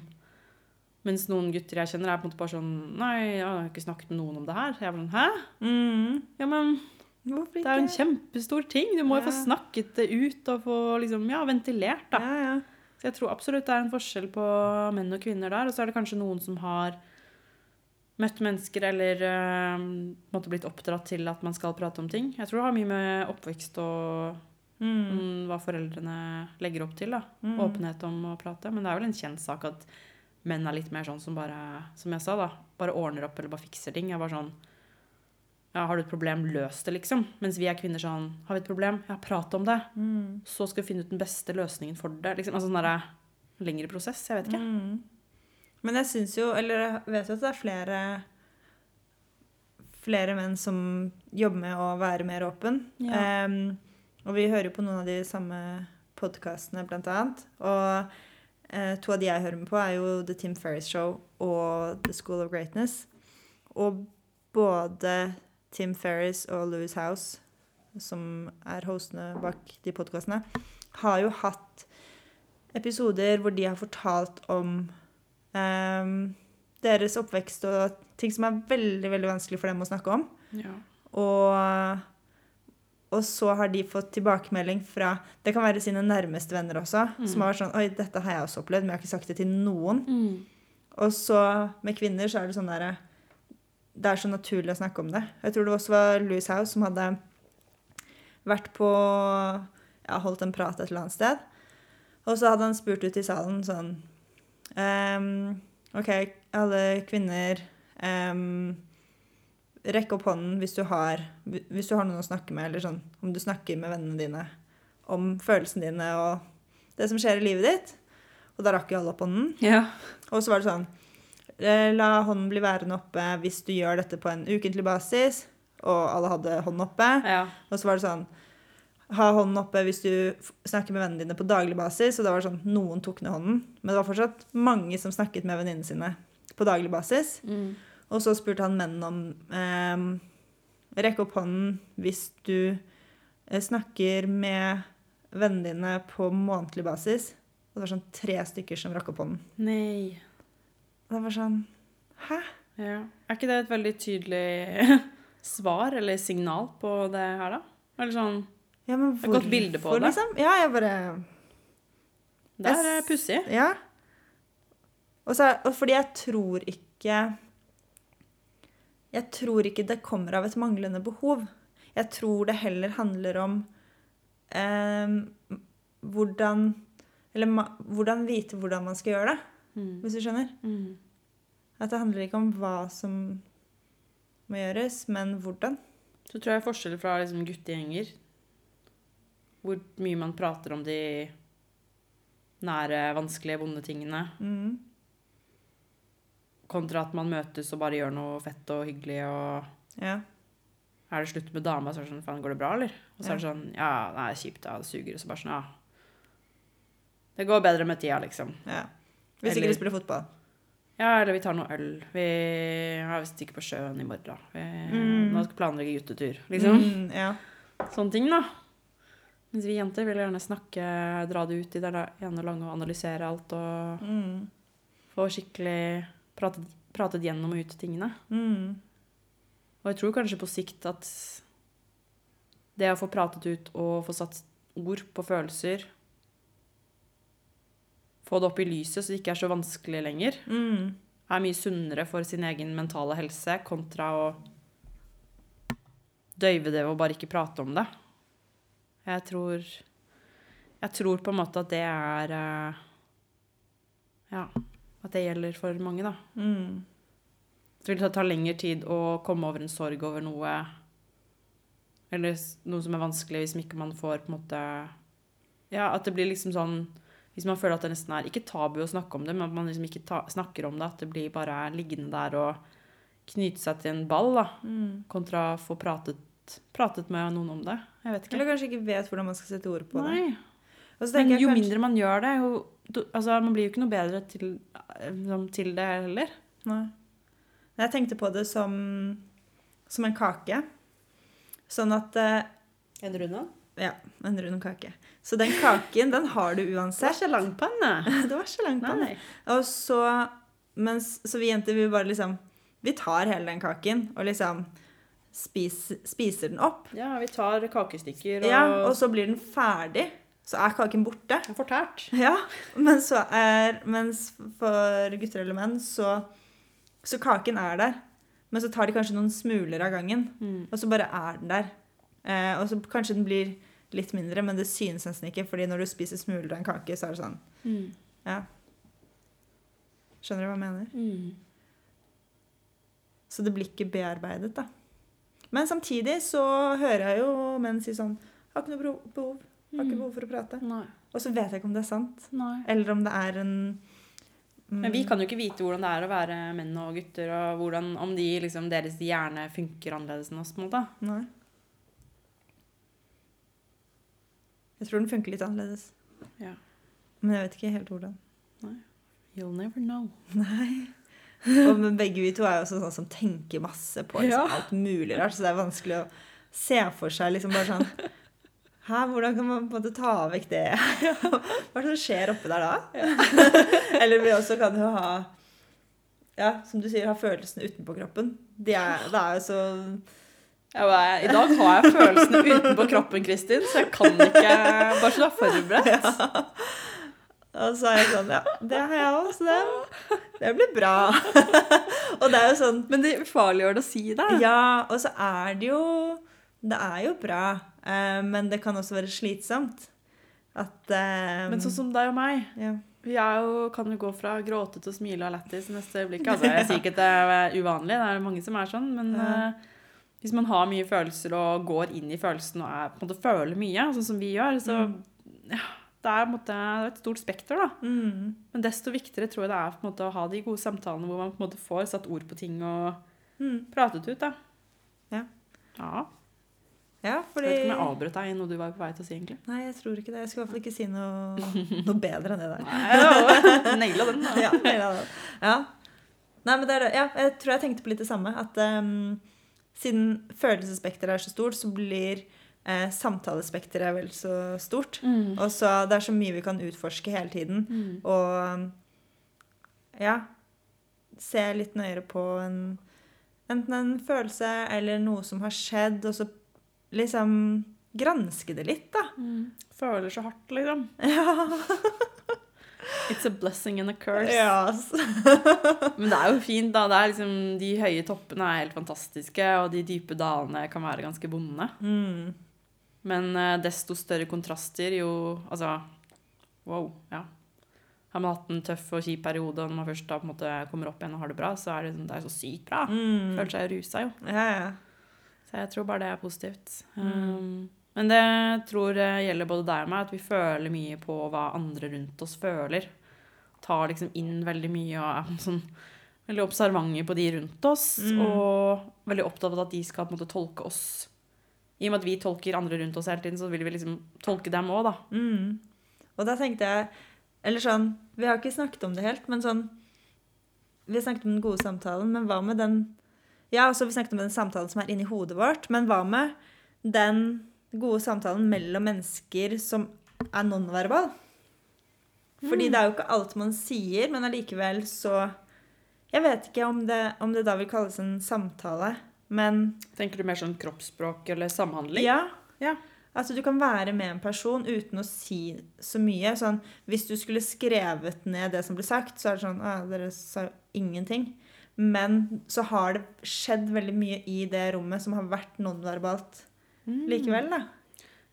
A: Mens noen gutter jeg kjenner, er på en måte bare sånn Nei, jeg har ikke snakket med noen om det her. Jeg er bare sånn Hæ?
B: Mm.
A: Ja, men
B: Hvorfor
A: det
B: ikke?
A: er jo en kjempestor ting. Du må jo få
B: Ja.
A: snakket det ut og få liksom Ja, ventilert, da.
B: Ja, ja.
A: Så jeg tror absolutt det er en forskjell på menn og kvinner der. Og så er det kanskje noen som har møtt mennesker eller eh, på en måte blitt oppdratt til at man skal prate om ting. Jeg tror det har mye med oppvekst og
B: Mm.
A: mm, hva foreldrene legger opp til. da.
B: Mm.
A: Åpenhet om å prate. Men det er vel en kjent sak at menn er litt mer sånn som bare, som jeg sa, da, bare ordner opp eller bare fikser ting. Jeg er bare sånn ja, Har du et problem, løs det, liksom. Mens vi er kvinner sånn Har vi et problem? Ja, prat om det
B: Mm.
A: så skal vi finne ut den beste løsningen for det. Liksom. Altså sånn der, lengre prosess, jeg vet ikke.
B: Mm. Men jeg syns jo, eller jeg vet jo at det er flere flere menn som jobber med å være mer åpen.
A: Ja.
B: Em, og vi hører jo på noen av de samme podkastene, blant annet. Og eh, to av de jeg hører med på, er jo The Tim Ferris Show og The School of Greatness. Og både Tim Ferris og Louis House, som er hostene bak de podkastene, har jo hatt episoder hvor de har fortalt om em, deres oppvekst og ting som er veldig, veldig vanskelig for dem å snakke om.
A: Mm, Ja.
B: Og, og så har de fått tilbakemelding fra Det kan være sine nærmeste venner også. Som har vært sånn Oi, dette har jeg også opplevd, men jeg har ikke sagt det til noen.
A: Mm.
B: Og så med kvinner så er det sånn derre Det er så naturlig å snakke om det. Jeg tror det også var Louis House som hadde vært på Ja, holdt en prat et eller annet sted. Og så hadde han spurt ut i salen sånn ehm, OK, alle kvinner ehm, Rekk opp hånden hvis du, har, hvis du har noen å snakke med, eller sånn om du snakker med vennene dine om følelsene dine og det som skjer i livet ditt. Og da rakk jo alle opp hånden. Og så var det sånn eh, La hånden bli værende oppe hvis du gjør dette på en ukentlig basis. Og alle hadde hånden oppe.
A: Ja.
B: Og så var det sånn Ha hånden oppe hvis du f- snakker med vennene dine på daglig basis. Og da var det sånn Noen tok ned hånden. Men det var fortsatt mange som snakket med venninnene sine på daglig basis.
A: Mm.
B: Og så spurte han mennene om eh, Rekk opp hånden hvis du eh, snakker med vennene dine på månedlig basis. Og det var sånn tre stykker som rakk opp hånden.
A: Nei.
B: Og det var sånn Hæ?
A: Ja. Er ikke det et veldig tydelig svar eller signal på det her, da? Eller sånn
B: Ja, men
A: Det er et godt bilde på
B: hvorfor,
A: det.
B: Liksom? Ja, jeg bare
A: Det er eh, pussig.
B: Ja. Og så, og fordi jeg tror ikke Jeg tror ikke det kommer av et manglende behov. Jeg tror det heller handler om eh, hvordan Eller ma, hvordan vite hvordan man skal gjøre det,
A: Mm.
B: hvis du skjønner.
A: Mm.
B: At det handler ikke om hva som må gjøres, men hvordan.
A: Så tror jeg forskjellen fra liksom, guttegjenger Hvor mye man prater om de nære, vanskelige, vonde tingene,
B: Mm.
A: kontra at man møtes og bare gjør noe fett og hyggelig og
B: Ja.
A: Er det slutt med dama? Så er det sånn Faen, går det bra, eller? Og så er det sånn Ja, det er kjipt, ja, det suger. Og så bare sånn, ja. Det går bedre med tida, liksom.
B: ja. Hvis
A: Eller-
B: ikke du spiller fotball.
A: Ja, eller vi tar noe øl. Vi har visst ikke på sjøen i morgen. Vi,
B: Mm.
A: Nå skal vi planlegge guttetur, liksom.
B: Mm, ja.
A: Sånne ting, da. Mens vi jenter vil gjerne snakke, dra det ut i det ene og lange og analysere alt og
B: Mm.
A: få skikkelig pratet, pratet gjennom og ut tingene.
B: Mm.
A: Og jeg tror kanskje på sikt at det å få pratet ut og få satt ord på følelser Få det opp i lyset så det ikke er så vanskelig lenger,
B: Mm.
A: er mye sunnere for sin egen mentale helse kontra å døyve det og bare ikke prate om det. Jeg tror Jeg tror på en måte at det er eh, Ja. At det gjelder for mange, da.
B: Mm.
A: Det vil ta- ta lengre tid å komme over en sorg over noe Eller s- noe som er vanskelig, hvis ikke man får på en måte Ja, at det blir liksom sånn Hvis man føler at det nesten er ikke tabu å snakke om det, men at man liksom ikke ta, snakker om det, at det blir bare liggende der og knyte seg til en ball, da,
B: Mm.
A: kontra å få pratet, pratet med noen om det. Jeg vet ikke.
B: Eller kanskje ikke vet hvordan man skal sette ord på det.
A: Nei.
B: Og så
A: Men
B: tenker jeg
A: jo
B: kanskje-
A: mindre man gjør det, jo du- Altså, man blir jo ikke noe bedre til, liksom, til det heller.
B: Nei. Men Jeg tenkte på det som, som en kake. Sånn at eh,
A: En runde?
B: Ja, en rund kake. Så den kaken, den har du
A: Det er
B: uansett.
A: ikke langpanne.
B: Det var så langt an.
A: Nei.
B: Og så mens, Så vi jenter, vi bare liksom Vi tar hele den kaken og liksom spis, spiser den opp.
A: Ja, vi tar kakestykker og,
B: Ja, og så blir den ferdig. Så er kaken borte.
A: fortært.
B: Ja, men så er Mens for gutter eller menn, så Så kaken er der. Men så tar de kanskje noen smuler av gangen,
A: Mm.
B: og så bare er den der. Eh, og så kanskje den blir litt mindre, men det synes nesten ikke, fordi når du spiser smuler av en kake, så er det sånn
A: Mm.
B: Ja. Skjønner du hva jeg mener?
A: Mm.
B: Så det blir ikke bearbeidet, da. Men samtidig så hører jeg jo menn si sånn Har ikke noe bro- behov. Har ikke
A: Mm.
B: behov for å prate.
A: Nei.
B: Og så vet jeg ikke om det er sant,
A: Nei.
B: eller om det er en mm,
A: Men vi kan jo ikke vite hvordan det er å være menn og gutter, og hvordan, om de, liksom, deres hjerne funker annerledes enn oss. på en måte.
B: Nei. Jeg tror den funker litt annerledes.
A: Ja.
B: Men jeg vet ikke helt hvordan.
A: You'll never know.
B: Og, men begge vi to er jo også sånn som tenker masse på liksom,
A: Ja.
B: alt mulig rart, så det er vanskelig å se for seg liksom bare sånn Hæ, hvordan kan man på en måte ta vekk det? Hva er det som skjer oppe der da? Eller vi også kan jo ha Ja, som du sier, ha følelsene utenpå kroppen. Det er, det er jo så
A: Jeg bare, I dag har jeg følelsene utenpå kroppen, Kristin, så jeg kan ikke Bare så du er forberedt.
B: Og så er jeg sånn Ja, det har jeg òg, så det, det blir bra. Og det er jo sånn
A: Men det ufarliggjør det å si det.
B: Ja, og så er det jo Det er jo bra, eh, men det kan også være slitsomt. At eh,
A: Men sånn som deg og meg,
B: ja.
A: vi er jo, kan jo gå fra gråte til å smile og lættis i neste øyeblikk. Altså, jeg sier ikke at det er uvanlig, det er mange som er sånn, men
B: Ja.
A: eh, hvis man har mye følelser og går inn i følelsen og er, på en måte føler mye, sånn som vi gjør, så ja, det er på en måte det er et stort spekter, da.
B: Mm,
A: Men desto viktigere tror jeg det er på en måte å ha de gode samtalene hvor man på en måte får satt ord på ting og
B: mm.
A: pratet ut, da.
B: Ja.
A: Ja,
B: ja,
A: jeg vet ikke om jeg
B: fordi
A: avbrøt deg i noe du var på vei til å si, egentlig.
B: Nei, jeg tror ikke det. Jeg skal i hvert fall ikke si noe, noe bedre enn det der.
A: Nei, Naila den, da.
B: Ja, nei, ja, ja. Nei, men det er det. Ja, jeg tror jeg tenkte på litt det samme. At eh, siden følelsesspekteret er så stort, så blir eh, samtalespekteret vel så stort.
A: Mm.
B: Og så det er så mye vi kan utforske hele tiden.
A: Mm.
B: Og ja Se litt nøyere på en, enten en følelse eller noe som har skjedd, og så liksom
A: Mm.
B: granske det litt, da.
A: Føler så hardt, liksom.
B: Ja.
A: It's a blessing and a curse.
B: Ja, altså. ass.
A: Men det er jo fint, da. Det er liksom, de høye toppene er helt fantastiske, og de dype dalene kan være ganske vonde.
B: Mm.
A: Men eh, desto større kontraster, jo Altså, wow. Ja. Har man hatt en tøff og kjip periode, og når man først da på en måte kommer opp igjen og har det bra, så er det, sånn- det er så sykt bra.
B: Mm.
A: Føler seg rusa, jo.
B: Ja, ja.
A: Så jeg tror bare det er positivt. Um, men det tror jeg gjelder både deg og meg, at vi føler mye på hva andre rundt oss føler. Tar liksom inn veldig mye og er sånn veldig observante på de rundt oss.
B: Mm.
A: Og veldig opptatt av at de skal på en måte tolke oss. I og med at vi tolker andre rundt oss hele tiden, så vil vi liksom tolke dem òg, da.
B: Mm. Og da tenkte jeg Eller sånn Vi har ikke snakket om det helt, men sånn Vi har snakket om den gode samtalen, men hva med den Ja, også vi snakket om den samtalen som er inni hodet vårt, men hva med den gode samtalen mellom mennesker som er nonverbal? Fordi det er jo ikke alt man sier, men allikevel så Jeg vet ikke om det, om det da vil kalles en samtale, men
A: Tenker du mer sånn kroppsspråk eller samhandling?
B: ja.
A: Ja.
B: Altså, du kan være med en person uten å si så mye. Sånn, hvis du skulle skrevet ned det som ble sagt, så er det sånn «Å, Dere sa ingenting. Men så har det skjedd veldig mye i det rommet som har vært nonverbalt likevel, da.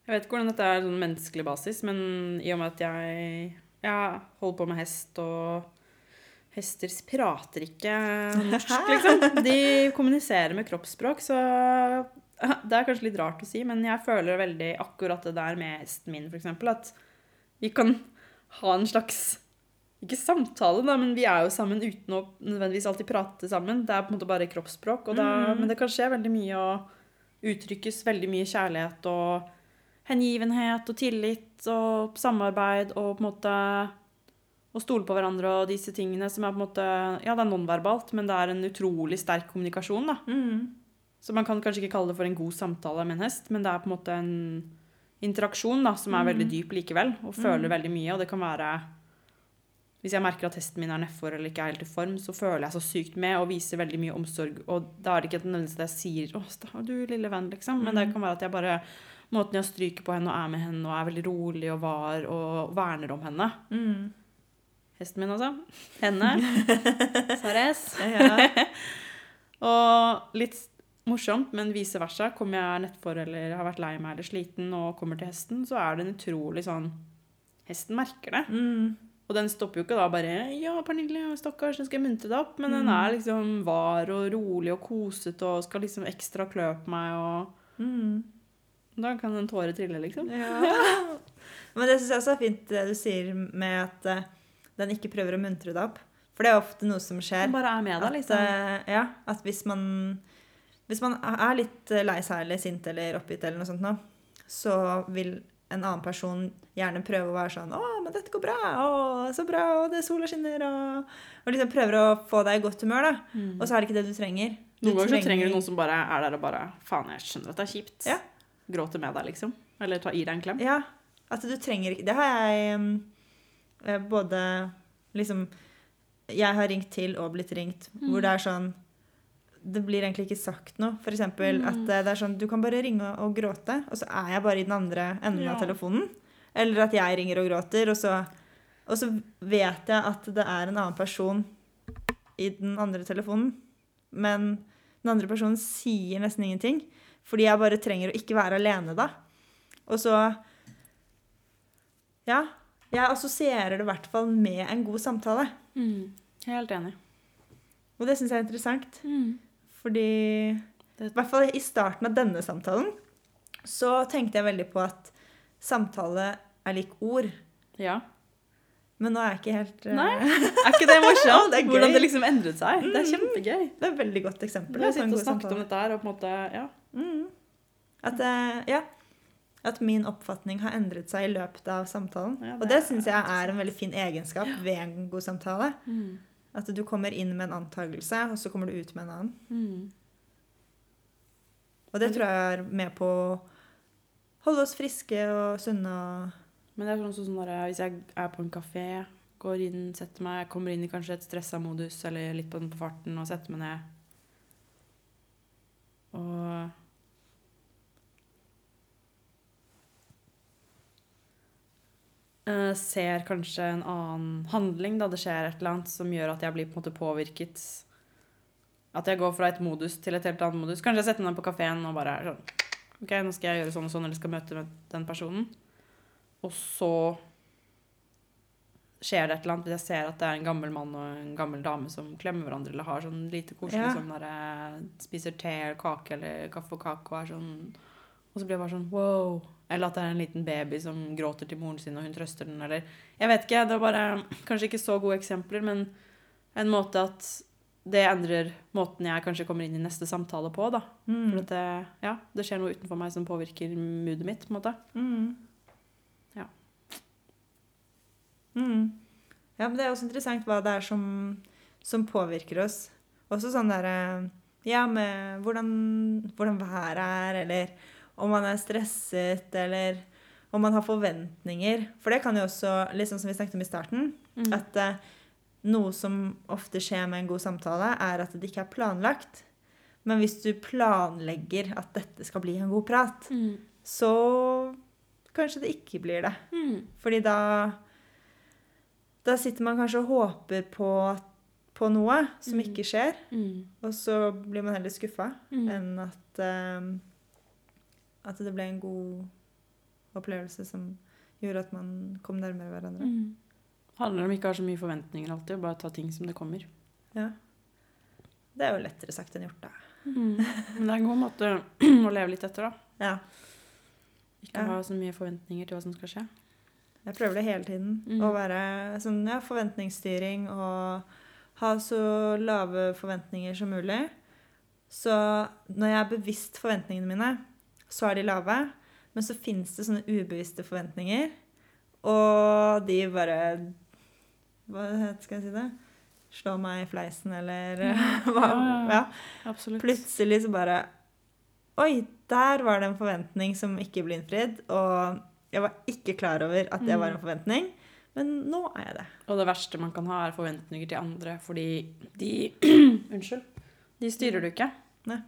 A: Jeg vet ikke hvordan dette er sånn menneskelig basis, men i og med at jeg, jeg holder på med hest og Hester prater ikke norsk, liksom. De kommuniserer med kroppsspråk, så det er kanskje litt rart å si, men jeg føler veldig akkurat det der med hesten min, f.eks. At vi kan ha en slags Ikke samtale, da, men vi er jo sammen uten å nødvendigvis alltid prate sammen. Det er på en måte bare kroppsspråk, og da, men det kan skje veldig mye og uttrykkes veldig mye kjærlighet og hengivenhet og tillit og samarbeid og på en måte å stole på hverandre og disse tingene som er på en måte Ja, det er nonverbalt, men det er en utrolig sterk kommunikasjon, da. Så man kan kanskje ikke kalle det for en god samtale med en hest, men det er på en måte en interaksjon da, som er veldig dyp likevel, og føler veldig mye, og det kan være hvis jeg merker at hesten min er nedfor eller ikke er helt i form, så føler jeg så sykt med og viser veldig mye omsorg. Og da er det ikke nødvendigvis at jeg sier 'Å, sta- du lille venn', liksom. Men det kan være at jeg bare Måten jeg stryker på henne og er med henne og er veldig rolig og var og verner om henne.
B: Mm.
A: Hesten min, altså. Henne. Sarez.
B: Ja.
A: Og litt morsomt, men vice versa. Kommer jeg nedfor eller har vært lei meg eller sliten og kommer til hesten, så er det en utrolig sånn Hesten merker det.
B: Mm.
A: Og den stopper jo ikke da bare 'Ja, Pernille, stakkars, nå skal jeg muntre deg opp.' Men den er liksom var og rolig og kosete og skal liksom ekstra klø på meg, og
B: Mm.
A: da kan en tåre trille, liksom.
B: Ja. Men det syns jeg også er fint, det du sier med at eh, den ikke prøver å muntre deg opp. For det er ofte noe som skjer.
A: Den bare er med deg,
B: At,
A: liksom.
B: eh, ja, at hvis man, hvis man er litt eh, lei seg eller sint eller oppgitt eller noe sånt nå, så vil en annen person gjerne prøve å være sånn 'Å, men dette går bra. Å, så bra. Og det sola skinner.' Og, og liksom prøver å få deg i godt humør, da. Og så er det ikke det du trenger.
A: Noen ganger så trenger du noen som bare er der og bare 'Faen, jeg skjønner at det er kjipt'.
B: Ja.
A: Gråter med deg, liksom. Eller tar i deg en klem.
B: Ja. At du trenger ikke Det har jeg mm, eh, både liksom Jeg har ringt til og blitt ringt, hvor det er sånn Det blir egentlig ikke sagt noe. For eksempel at eh, det er sånn Du kan bare ringe og, og gråte, og så er jeg bare i den andre enden
A: Ja.
B: av telefonen. Eller at jeg ringer og gråter, og så, og så vet jeg at det er en annen person i den andre telefonen. Men den andre personen sier nesten ingenting. Fordi jeg bare trenger å ikke være alene da. Og så Ja. Jeg assosierer det i hvert fall med en god samtale.
A: Helt enig.
B: Og det syns jeg er interessant.
A: Mm.
B: Fordi I hvert fall i starten av denne samtalen så tenkte jeg veldig på at samtale er lik ord.
A: Ja.
B: Men nå er jeg ikke helt eh,
A: Nei, er ikke det morsomt?
B: det er gøy. Mm.
A: Hvordan det liksom endret seg. Det er kjempegøy.
B: Det er et veldig godt eksempel.
A: Vi har
B: da, på en
A: sittet og
B: god
A: snakket
B: samtale.
A: om dette her, og på en måte Ja.
B: Mm. At, eh, ja. At min oppfatning har endret seg i løpet av samtalen.
A: Ja, det
B: og det
A: er
B: syns jeg er en veldig fin egenskap ved en god samtale.
A: Mm.
B: At du kommer inn med en antakelse, og så kommer du ut med en annen.
A: Mm.
B: Og det tror jeg er med på å holde oss friske og sunne og
A: Men det er sånn, sånn der, hvis jeg er på en kafé, går inn, setter meg, kommer inn i kanskje et stressa modus, eller litt på den på farten, og setter meg ned Og eh, ser kanskje en annen handling, da det skjer et eller annet som gjør at jeg blir på en måte påvirket. At jeg går fra et modus til et helt annet modus. Kanskje jeg setter meg ned på kafeen og bare er sånn OK, nå skal jeg gjøre sånn og sånn, eller skal møte med den personen. Og så skjer det et eller annet. Hvis jeg ser at det er en gammel mann og en gammel dame som klemmer hverandre eller har sånn lite koselig
B: Ja.
A: sånn der eh, Spiser te eller kake eller kaffe og kake og er sånn Og så blir jeg bare sånn wow. Eller at det er en liten baby som gråter til moren sin, og hun trøster den, eller Jeg vet ikke. Det er bare kanskje ikke så gode eksempler, men en måte at det endrer måten jeg kanskje kommer inn i neste samtale på, da.
B: Mm.
A: For at det, ja, det skjer noe utenfor meg som påvirker moodet mitt, på en måte.
B: Mm.
A: Ja.
B: Mm. Ja, men det er også interessant hva det er som, som påvirker oss. Også sånn derre Ja, med hvordan, hvordan været er, eller om man er stresset, eller om man har forventninger. For det kan jo også, liksom som vi snakket om i starten,
A: Mm.
B: at eh, noe som ofte skjer med en god samtale, er at det ikke er planlagt. Men hvis du planlegger at dette skal bli en god prat,
A: Mm.
B: så kanskje det ikke blir det.
A: Mm.
B: Fordi da Da sitter man kanskje og håper på, på noe som
A: Mm.
B: ikke skjer,
A: Mm.
B: og så blir man heller skuffa
A: Mm.
B: enn at eh, At det ble en god opplevelse som gjorde at man kom nærmere hverandre.
A: Mm. Handler om ikke å ha så mye forventninger alltid, og bare ta ting som det kommer.
B: Ja. Det er jo lettere sagt enn gjort, da.
A: Mm. Men det er en god måte å leve litt etter, da.
B: Ja.
A: Ikke
B: Ja.
A: ha så mye forventninger til hva som skal skje.
B: Jeg prøver det hele tiden.
A: Mm.
B: Å være sånn, ja, forventningsstyring og ha så lave forventninger som mulig. Så når jeg er bevisst forventningene mine, så er de lave. Men så fins det sånne ubevisste forventninger, og de bare Hva het- skal jeg si det? Slår meg i fleisen, eller hva?
A: Ja, ja, ja.
B: Ja.
A: Absolutt.
B: Plutselig så bare Oi, der var det en forventning som ikke ble innfridd. Og jeg var ikke klar over at det var en forventning, men nå er jeg det.
A: Og det verste man kan ha, er forventninger til andre, fordi de Unnskyld. De styrer du ikke.
B: Nei.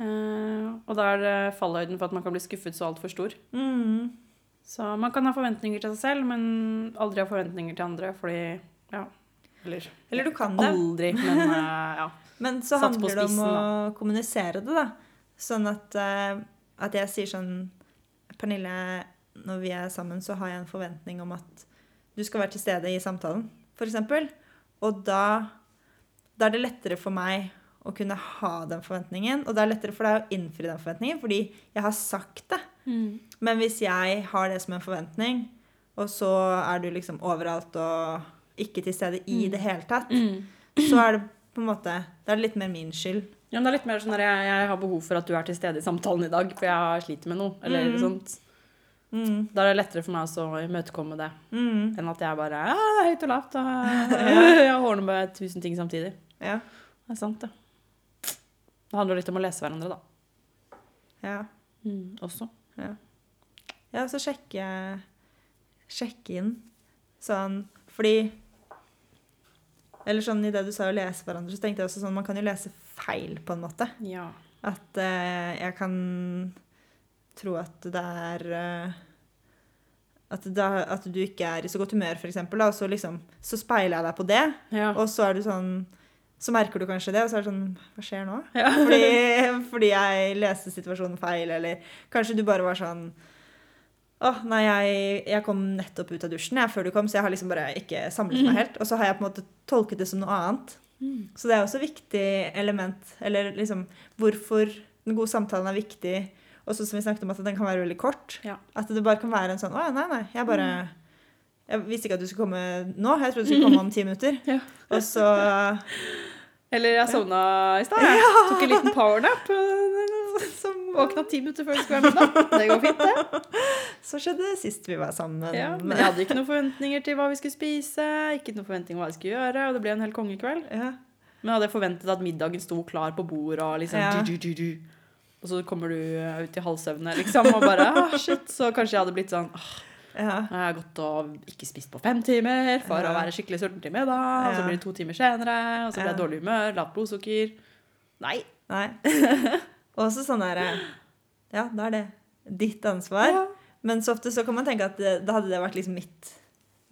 A: Eh, og da er det fallhøyden for at man kan bli skuffet så altfor stor.
B: Mm.
A: Så man kan ha forventninger til seg selv, men aldri ha forventninger til andre, fordi Ja. Eller
B: Eller du kan det.
A: aldri, men eh, ja.
B: Men så
A: Satt på
B: handler det om
A: spissen,
B: å kommunisere det, da. Sånn at, eh, at jeg sier sånn Pernille, når vi er sammen, så har jeg en forventning om at du skal være til stede i samtalen, f.eks. Og da, da er det lettere for meg å kunne ha den forventningen. Og det er lettere for deg å innfri den forventningen, fordi jeg har sagt det. Men hvis jeg har det som en forventning, og så er du liksom overalt og ikke til stede i
A: Mm.
B: det hele tatt,
A: Mm.
B: så er det på en måte Da er det litt mer min skyld.
A: Ja, men det er litt mer sånn at jeg, jeg har behov for at du er til stede i samtalen i dag, for jeg sliter med noe. eller
B: Mm.
A: sånt.
B: Mm.
A: Da er det lettere for meg også å imøtekomme det,
B: Mm.
A: enn at jeg bare «Ja, det er høyt og lavt. Og jeg ordner med tusen ting samtidig.
B: Ja.
A: Det er sant, det. Det handler litt om å lese hverandre, da.
B: ja.
A: Også.
B: Ja, så sjekke Sjekke inn. Sånn fordi Eller sånn i det du sa å lese hverandre, så tenkte jeg også sånn Man kan jo lese feil, på en måte.
A: Ja.
B: At eh, jeg kan tro at det er eh, at, da, at du ikke er i så godt humør, f.eks., og så, liksom, så speiler jeg deg på det,
A: Ja.
B: og så er du sånn Så merker du kanskje det, og så er det sånn Hva skjer nå?
A: Ja.
B: Fordi, fordi jeg leste situasjonen feil, eller kanskje du bare var sånn Å, nei, jeg, jeg kom nettopp ut av dusjen jeg, før du kom, så jeg har liksom bare ikke samlet meg helt. Og så har jeg på en måte tolket det som noe annet.
A: Mm.
B: Så det er også et viktig element, eller liksom hvorfor den gode samtalen er viktig. Og så som vi snakket om, at den kan være veldig kort.
A: Ja. Mm.
B: At det bare kan være en sånn Å ja, nei, nei, jeg bare Jeg visste ikke at du skulle komme nå. Jeg trodde du skulle komme om ti minutter.
A: Ja.
B: Og så
A: Eller jeg sovna i stad. jeg. Tok en liten powernap.
B: som,
A: Våkna ti minutter før vi skulle være med. da. Det går fint, det.
B: Så skjedde det sist vi var sammen.
A: Ja, men jeg hadde ikke noen forventninger til hva vi skulle spise, ikke noen forventninger om hva vi skulle gjøre, og det ble en hel kongekveld.
B: Ja.
A: Men jeg hadde forventet at middagen sto klar på bordet, og liksom
B: Ja.
A: du, du, du, du. Og så kommer du eh, ut i halvsøvne, liksom, og bare ah, shit. Så kanskje jeg hadde blitt sånn ah,
B: Ja.
A: Nå har jeg gått og ikke spist på fem timer for å
B: Ja.
A: være skikkelig sulten til middag, og så
B: Ja.
A: blir det to timer senere, og så blir jeg
B: Ja.
A: dårlig humør, lavt blodsukker. Nei.
B: Nei. Også sånn der Ja, da er det ditt ansvar.
A: Ja.
B: Men så ofte så kan man tenke at det, da hadde det vært liksom mitt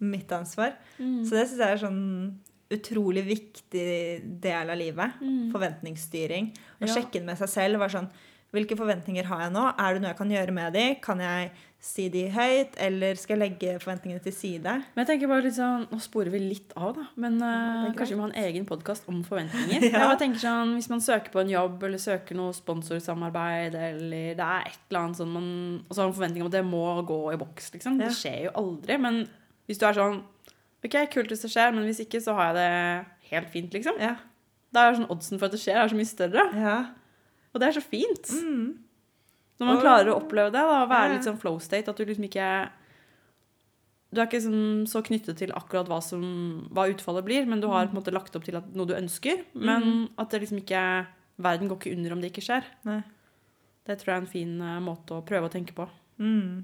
B: mitt ansvar.
A: Mm.
B: Så det syns jeg er sånn utrolig viktig del av livet. Forventningsstyring. Å
A: Mm. Ja.
B: sjekke inn med seg selv. Være sånn Hvilke forventninger har jeg nå? Er det noe jeg kan gjøre med de? Kan jeg si de høyt, eller skal jeg legge forventningene til side?
A: Men jeg tenker bare litt sånn, Nå sporer vi litt av, da. Men eh,
B: det er greit.
A: kanskje vi må ha en egen podkast om forventninger.
B: Ja.
A: Jeg bare tenker sånn, Hvis man søker på en jobb eller søker noe sponsorsamarbeid eller det er et eller annet sånn man, Og så har man forventning om at det må gå i boks. liksom.
B: Ja.
A: Det skjer jo aldri. Men hvis du er sånn OK, kult hvis det skjer, men hvis ikke, så har jeg det helt fint, liksom.
B: Ja.
A: Da er jo sånn oddsen for at det skjer, er så mye større.
B: ja.
A: Og det er så fint.
B: Mm.
A: Når man
B: Og-
A: klarer å oppleve det, da,
B: Ja.
A: å være litt sånn flow state, at du liksom ikke Du er ikke sånn, så knyttet til akkurat hva, som, hva utfallet blir, men du har på en måte lagt opp til at, noe du ønsker. Men at det liksom ikke Verden går ikke under om det ikke skjer.
B: Nei.
A: Det tror jeg er en fin eh, måte å prøve å tenke på.
B: Mm.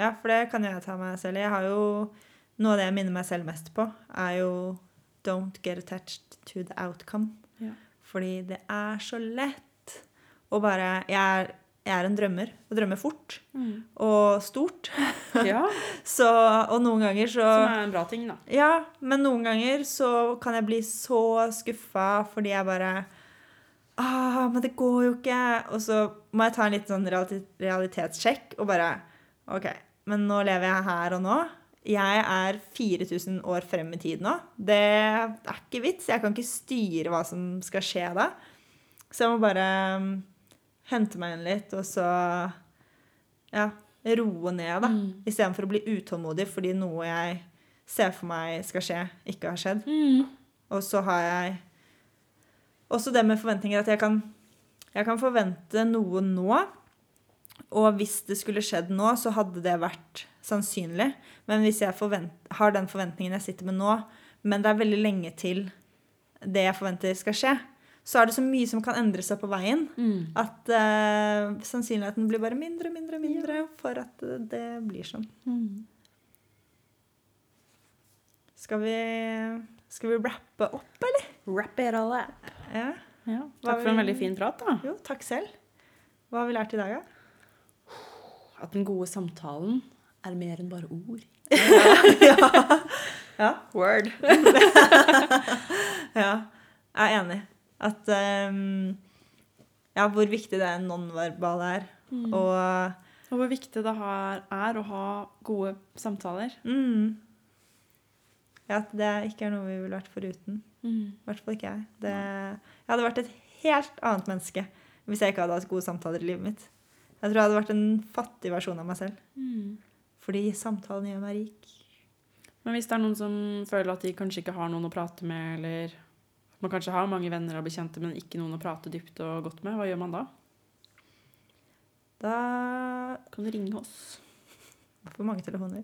B: Ja, for det kan jeg ta meg selv i. Jeg har jo Noe av det jeg minner meg selv mest på, er jo Don't get attached to the outcome.
A: Ja.
B: Fordi det er så lett å bare jeg er, jeg er en drømmer, og drømmer fort
A: Mm.
B: og stort.
A: Ja, Mm.
B: Så, og noen ganger så
A: Som er en bra ting, da.
B: Ja, men noen ganger så kan jeg bli så skuffa fordi jeg bare Ah, men det går jo ikke. Og så må jeg ta en liten sånn realit realitetssjekk og bare OK, men nå lever jeg her og nå. Jeg er 4000 år frem i tid nå. Det er ikke vits. Jeg kan ikke styre hva som skal skje da. Så jeg må bare mm, hente meg inn litt, og så ja, roe ned, da.
A: Mm.
B: Istedenfor å bli utålmodig fordi noe jeg ser for meg skal skje, ikke har skjedd.
A: Mm.
B: Og så har jeg også det med forventninger at jeg kan, jeg kan forvente noe nå. Og hvis det skulle skjedd nå, så hadde det vært sannsynlig. Men hvis jeg forvent, har den forventningen jeg sitter med nå, men det er veldig lenge til det jeg forventer skal skje, så er det så mye som kan endre seg på veien.
A: Mm.
B: At eh, sannsynligheten blir bare mindre og mindre og mindre for at eh, det blir sånn.
A: Mm.
B: Skal vi, skal vi rappe opp, eller?
A: Wrap it all up.
B: Ja.
A: Ja.
B: Hva
A: Takk for en
B: vil-
A: veldig fin prat, da.
B: Jo, takk selv. Hva har vi lært i dag, da?
A: At den gode samtalen er mer enn bare ord.
B: Ja.
A: Word.
B: ja. Jeg er enig. At ehm, Ja, hvor viktig det nonverbale er.
A: Mm.
B: Og
A: Og hvor viktig det her er å ha gode samtaler.
B: mm, Ja, at det ikke er noe vi ville vært foruten.
A: Mm.
B: I hvert fall ikke jeg. Det, jeg hadde vært et helt annet menneske hvis jeg ikke hadde hatt gode samtaler i livet mitt. Jeg tror jeg hadde vært en fattig versjon av meg selv.
A: Mm.
B: Fordi samtalen gjør meg rik.
A: Men hvis det er noen som føler at de kanskje ikke har noen å prate med, eller at man kanskje har mange venner og bekjente, men ikke noen å prate dypt og godt med, hva gjør man da?
B: Da
A: Kan du ringe oss?
B: For mange telefoner.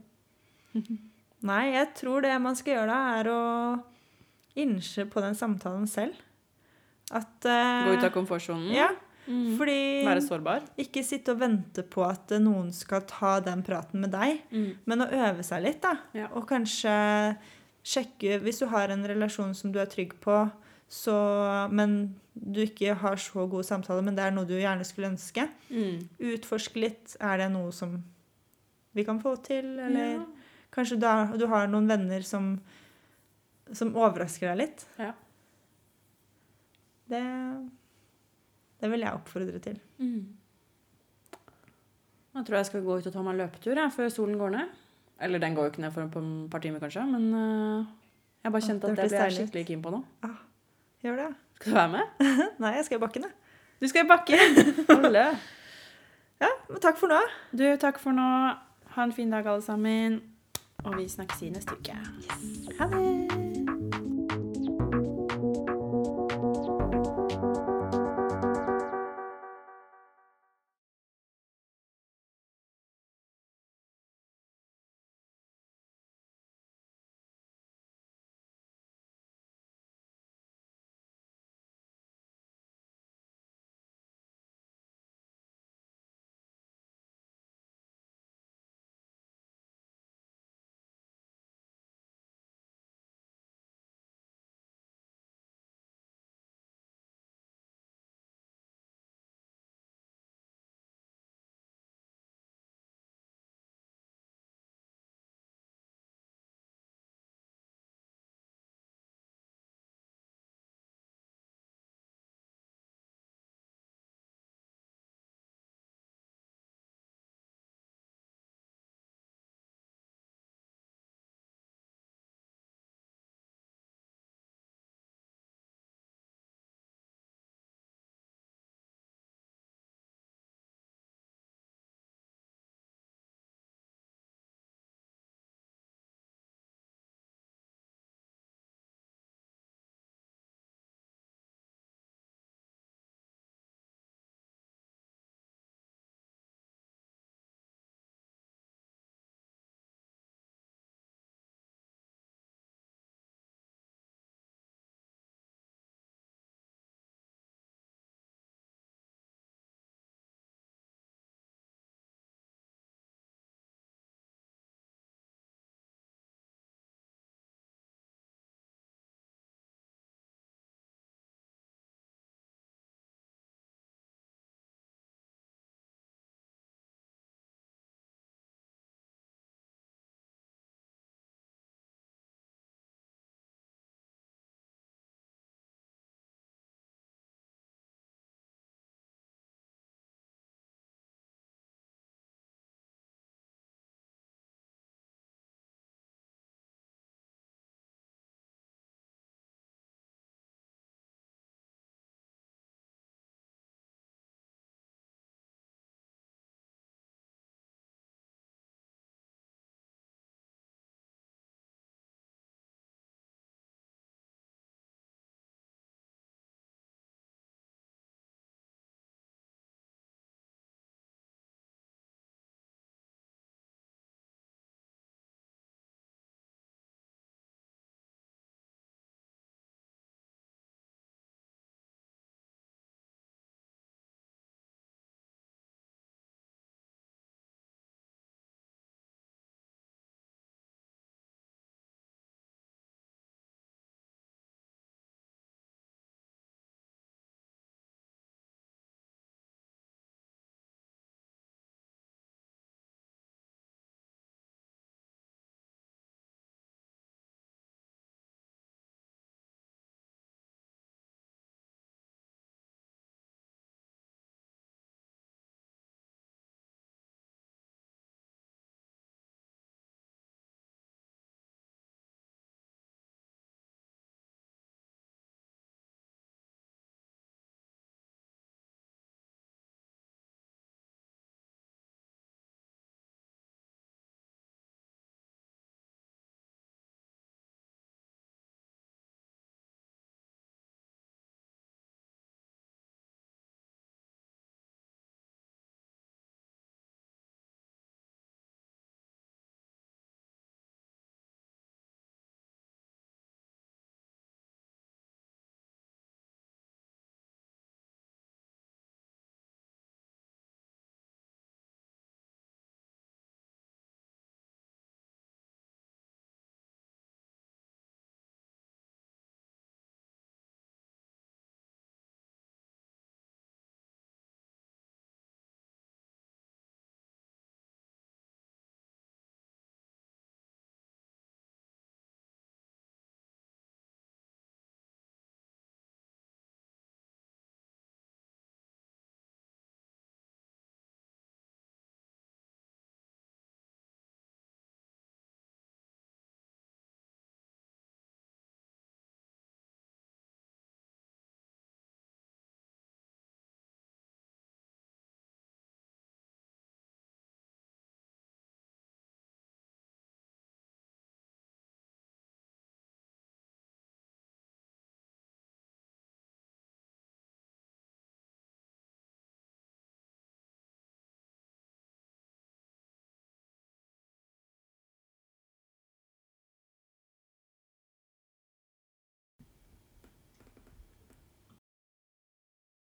B: Nei, jeg tror det man skal gjøre da, er å innse på den samtalen selv. At eh,
A: Gå ut av komfortsonen?
B: Ja,
A: Mm. Være
B: fordi
A: sårbar?
B: ikke sitte og vente på at eh, noen skal ta den praten med deg.
A: Mm.
B: Men å øve seg litt, da.
A: Ja.
B: Og kanskje sjekke Hvis du har en relasjon som du er trygg på, så, men du ikke har så gode samtaler, men det er noe du gjerne skulle ønske,
A: Mm.
B: utforske litt. Er det noe som vi kan få til, eller
A: Ja.
B: Kanskje da, du har noen venner som, som overrasker deg litt.
A: Ja.
B: Det, det vil jeg oppfordre til.
A: Jeg Mm. tror jeg skal gå ut og ta meg en løpetur jeg, før solen går ned. Eller den går jo ikke ned for på et par timer, kanskje, men øh, jeg bare
B: Å, det
A: kjente at det
B: hørtes
A: ble jeg
B: deilig ut.
A: skikkelig keen på nå.
B: Gjør det.
A: Skal du være med?
B: Nei, jeg skal i bakken, jeg.
A: Du skal i bakken! Alle!
B: Ja, men takk for nå.
A: Du, takk for nå. Ha en fin dag, alle sammen. Og vi snakkes i neste uke.
B: Ha det.